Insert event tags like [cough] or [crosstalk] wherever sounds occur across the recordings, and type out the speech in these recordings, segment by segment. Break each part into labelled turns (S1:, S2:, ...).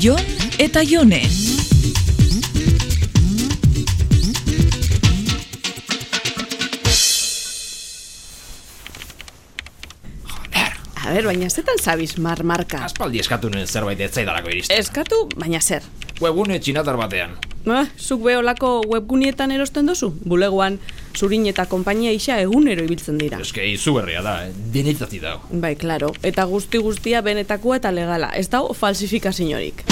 S1: Jon eta Jone.
S2: A ber, baina zetan zabiz marmarka.
S3: Aspaldi eskatu nuen zerbait ez zaidalako iristen.
S2: Eskatu, baina zer.
S3: Webune txinatar batean.
S2: Ah, zuk beholako webgunietan erosten duzu? Bulegoan, zurin eta konpainia isa egunero ibiltzen dira.
S3: Eske izugarria da, eh? denetatik dago.
S2: Bai, klaro. Eta guzti guztia benetakoa eta legala. Ez dago falsifikaziorik.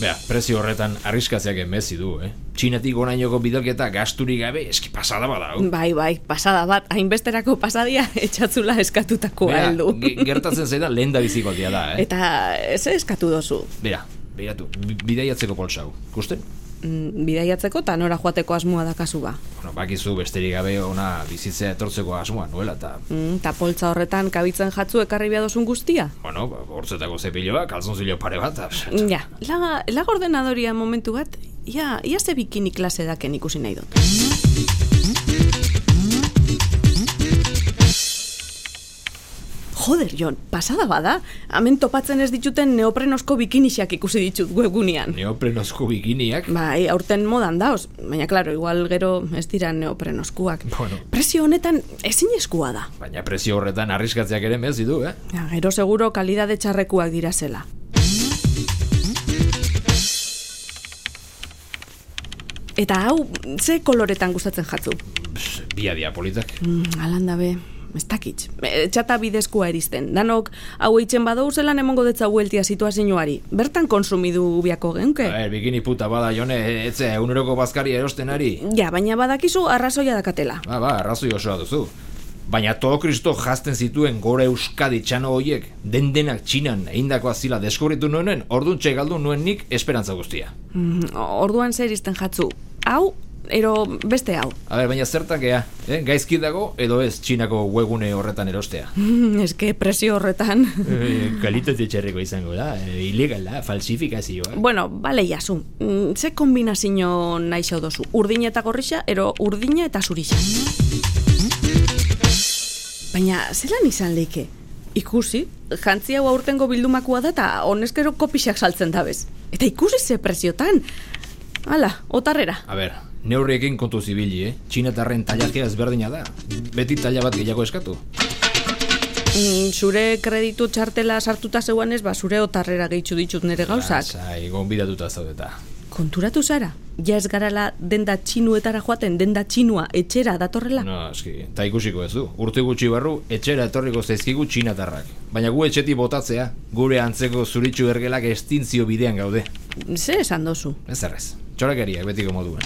S3: Bea, prezio horretan arriskatzeak enbezi du, eh? Txinatik onainoko bidalketa gasturik gabe eski pasada bada. hau.
S2: Bai, bai, pasada bat, hainbesterako pasadia [laughs] etxatzula eskatutakoa
S3: Bea,
S2: heldu.
S3: ge- gertatzen zaidan lehen da bizikotia da, eh?
S2: Eta ze eskatu dozu?
S3: Bea, begiratu, bi- bidaiatzeko polsa hau. Kusten?
S2: Mm, Bidaiatzeko eta nora joateko asmoa dakazu ba.
S3: Bueno, bakizu besterik gabe ona bizitzea etortzeko asmoa nuela eta...
S2: Mm, Eta poltsa horretan kabitzen jatzu ekarri behar dozun guztia?
S3: Bueno, ba, hortzetako zepilloa, kalzon zilo pare bat, eta...
S2: Ja, laga, laga ordenadoria momentu bat, ja, ia ze bikini klase daken ikusi nahi dut. Joder, Jon, pasada bada, hemen topatzen ez dituten neoprenosko bikinixak ikusi ditut webgunean.
S3: Neoprenozko bikiniak,
S2: Bai, aurten modan dauz, baina klaro, igual gero ez dira neoprenoskuak.
S3: Bueno.
S2: Prezio honetan ezin eskua da.
S3: baina prezio horretan arriskatzeak ere mezi du, eh?
S2: Ja, gero seguro kalidade txarrekuak dira zela. Eta hau, ze koloretan gustatzen jatzu?
S3: Pss, Bia dia politak.
S2: Mm, alanda be, ez dakit. E, Txata bidezkoa eristen. Danok, hau eitzen badou zelan emongo detza hueltia situazioari. Bertan konsumidu biako genke?
S3: A ber, bikini puta bada, jone, etze, eguneroko bazkari erosten ari.
S2: Ja, baina badakizu arrazoia dakatela.
S3: Ba, ba, arrazoi osoa duzu. Baina todo kristo jazten zituen gore euskadi txano hoiek, dendenak txinan eindako azila deskubritu nuenen, ordun txegaldu nuen nik esperantza guztia.
S2: Mm, orduan zer izten jatzu. Hau, ero beste [laughs] hau.
S3: A ber, baina zertan gea, eh? gaizki dago edo ez txinako webgune horretan erostea. [laughs]
S2: Mm, eske presio horretan.
S3: e, kalitate txerreko izango da, e, ilegala, falsifikazioa.
S2: Bueno, bale jasu. Mm, Ze kombinazio nahi zeu dozu? Urdina eta gorrixa, ero urdina eta zurixa. Baina, zelan izan leike? Ikusi, jantzi hau aurtengo bildumakua da eta honezkero kopixak saltzen dabez. Eta ikusi ze preziotan. Hala, otarrera.
S3: A ber, neurriekin kontu zibili, eh? Txinatarren tailakea ezberdina da. Beti taila bat gehiago eskatu.
S2: Mm, zure kreditu txartela sartuta zeuan ez, ba, zure otarrera gehitzu ditut nere
S3: Ba,
S2: gauzak.
S3: Lasai, gonbidatuta zaudeta.
S2: Konturatu zara, ja ez garala denda txinuetara joaten, denda txinua etxera datorrela.
S3: No, eski, ta ikusiko ez du. Urte gutxi barru, etxera etorriko zaizkigu txinatarrak. Baina gu etxeti botatzea, gure antzeko zuritxu ergelak estintzio bidean gaude.
S2: Ze esan dozu?
S3: Ez errez, txorakeriak betiko moduan.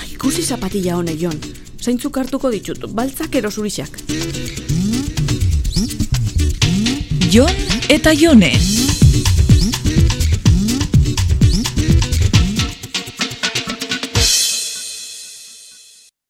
S2: Ai, Ikusi zapatilla hone, Jon. Zaintzuk hartuko ditut, baltzak erosurisak.
S1: Jon eta Jone.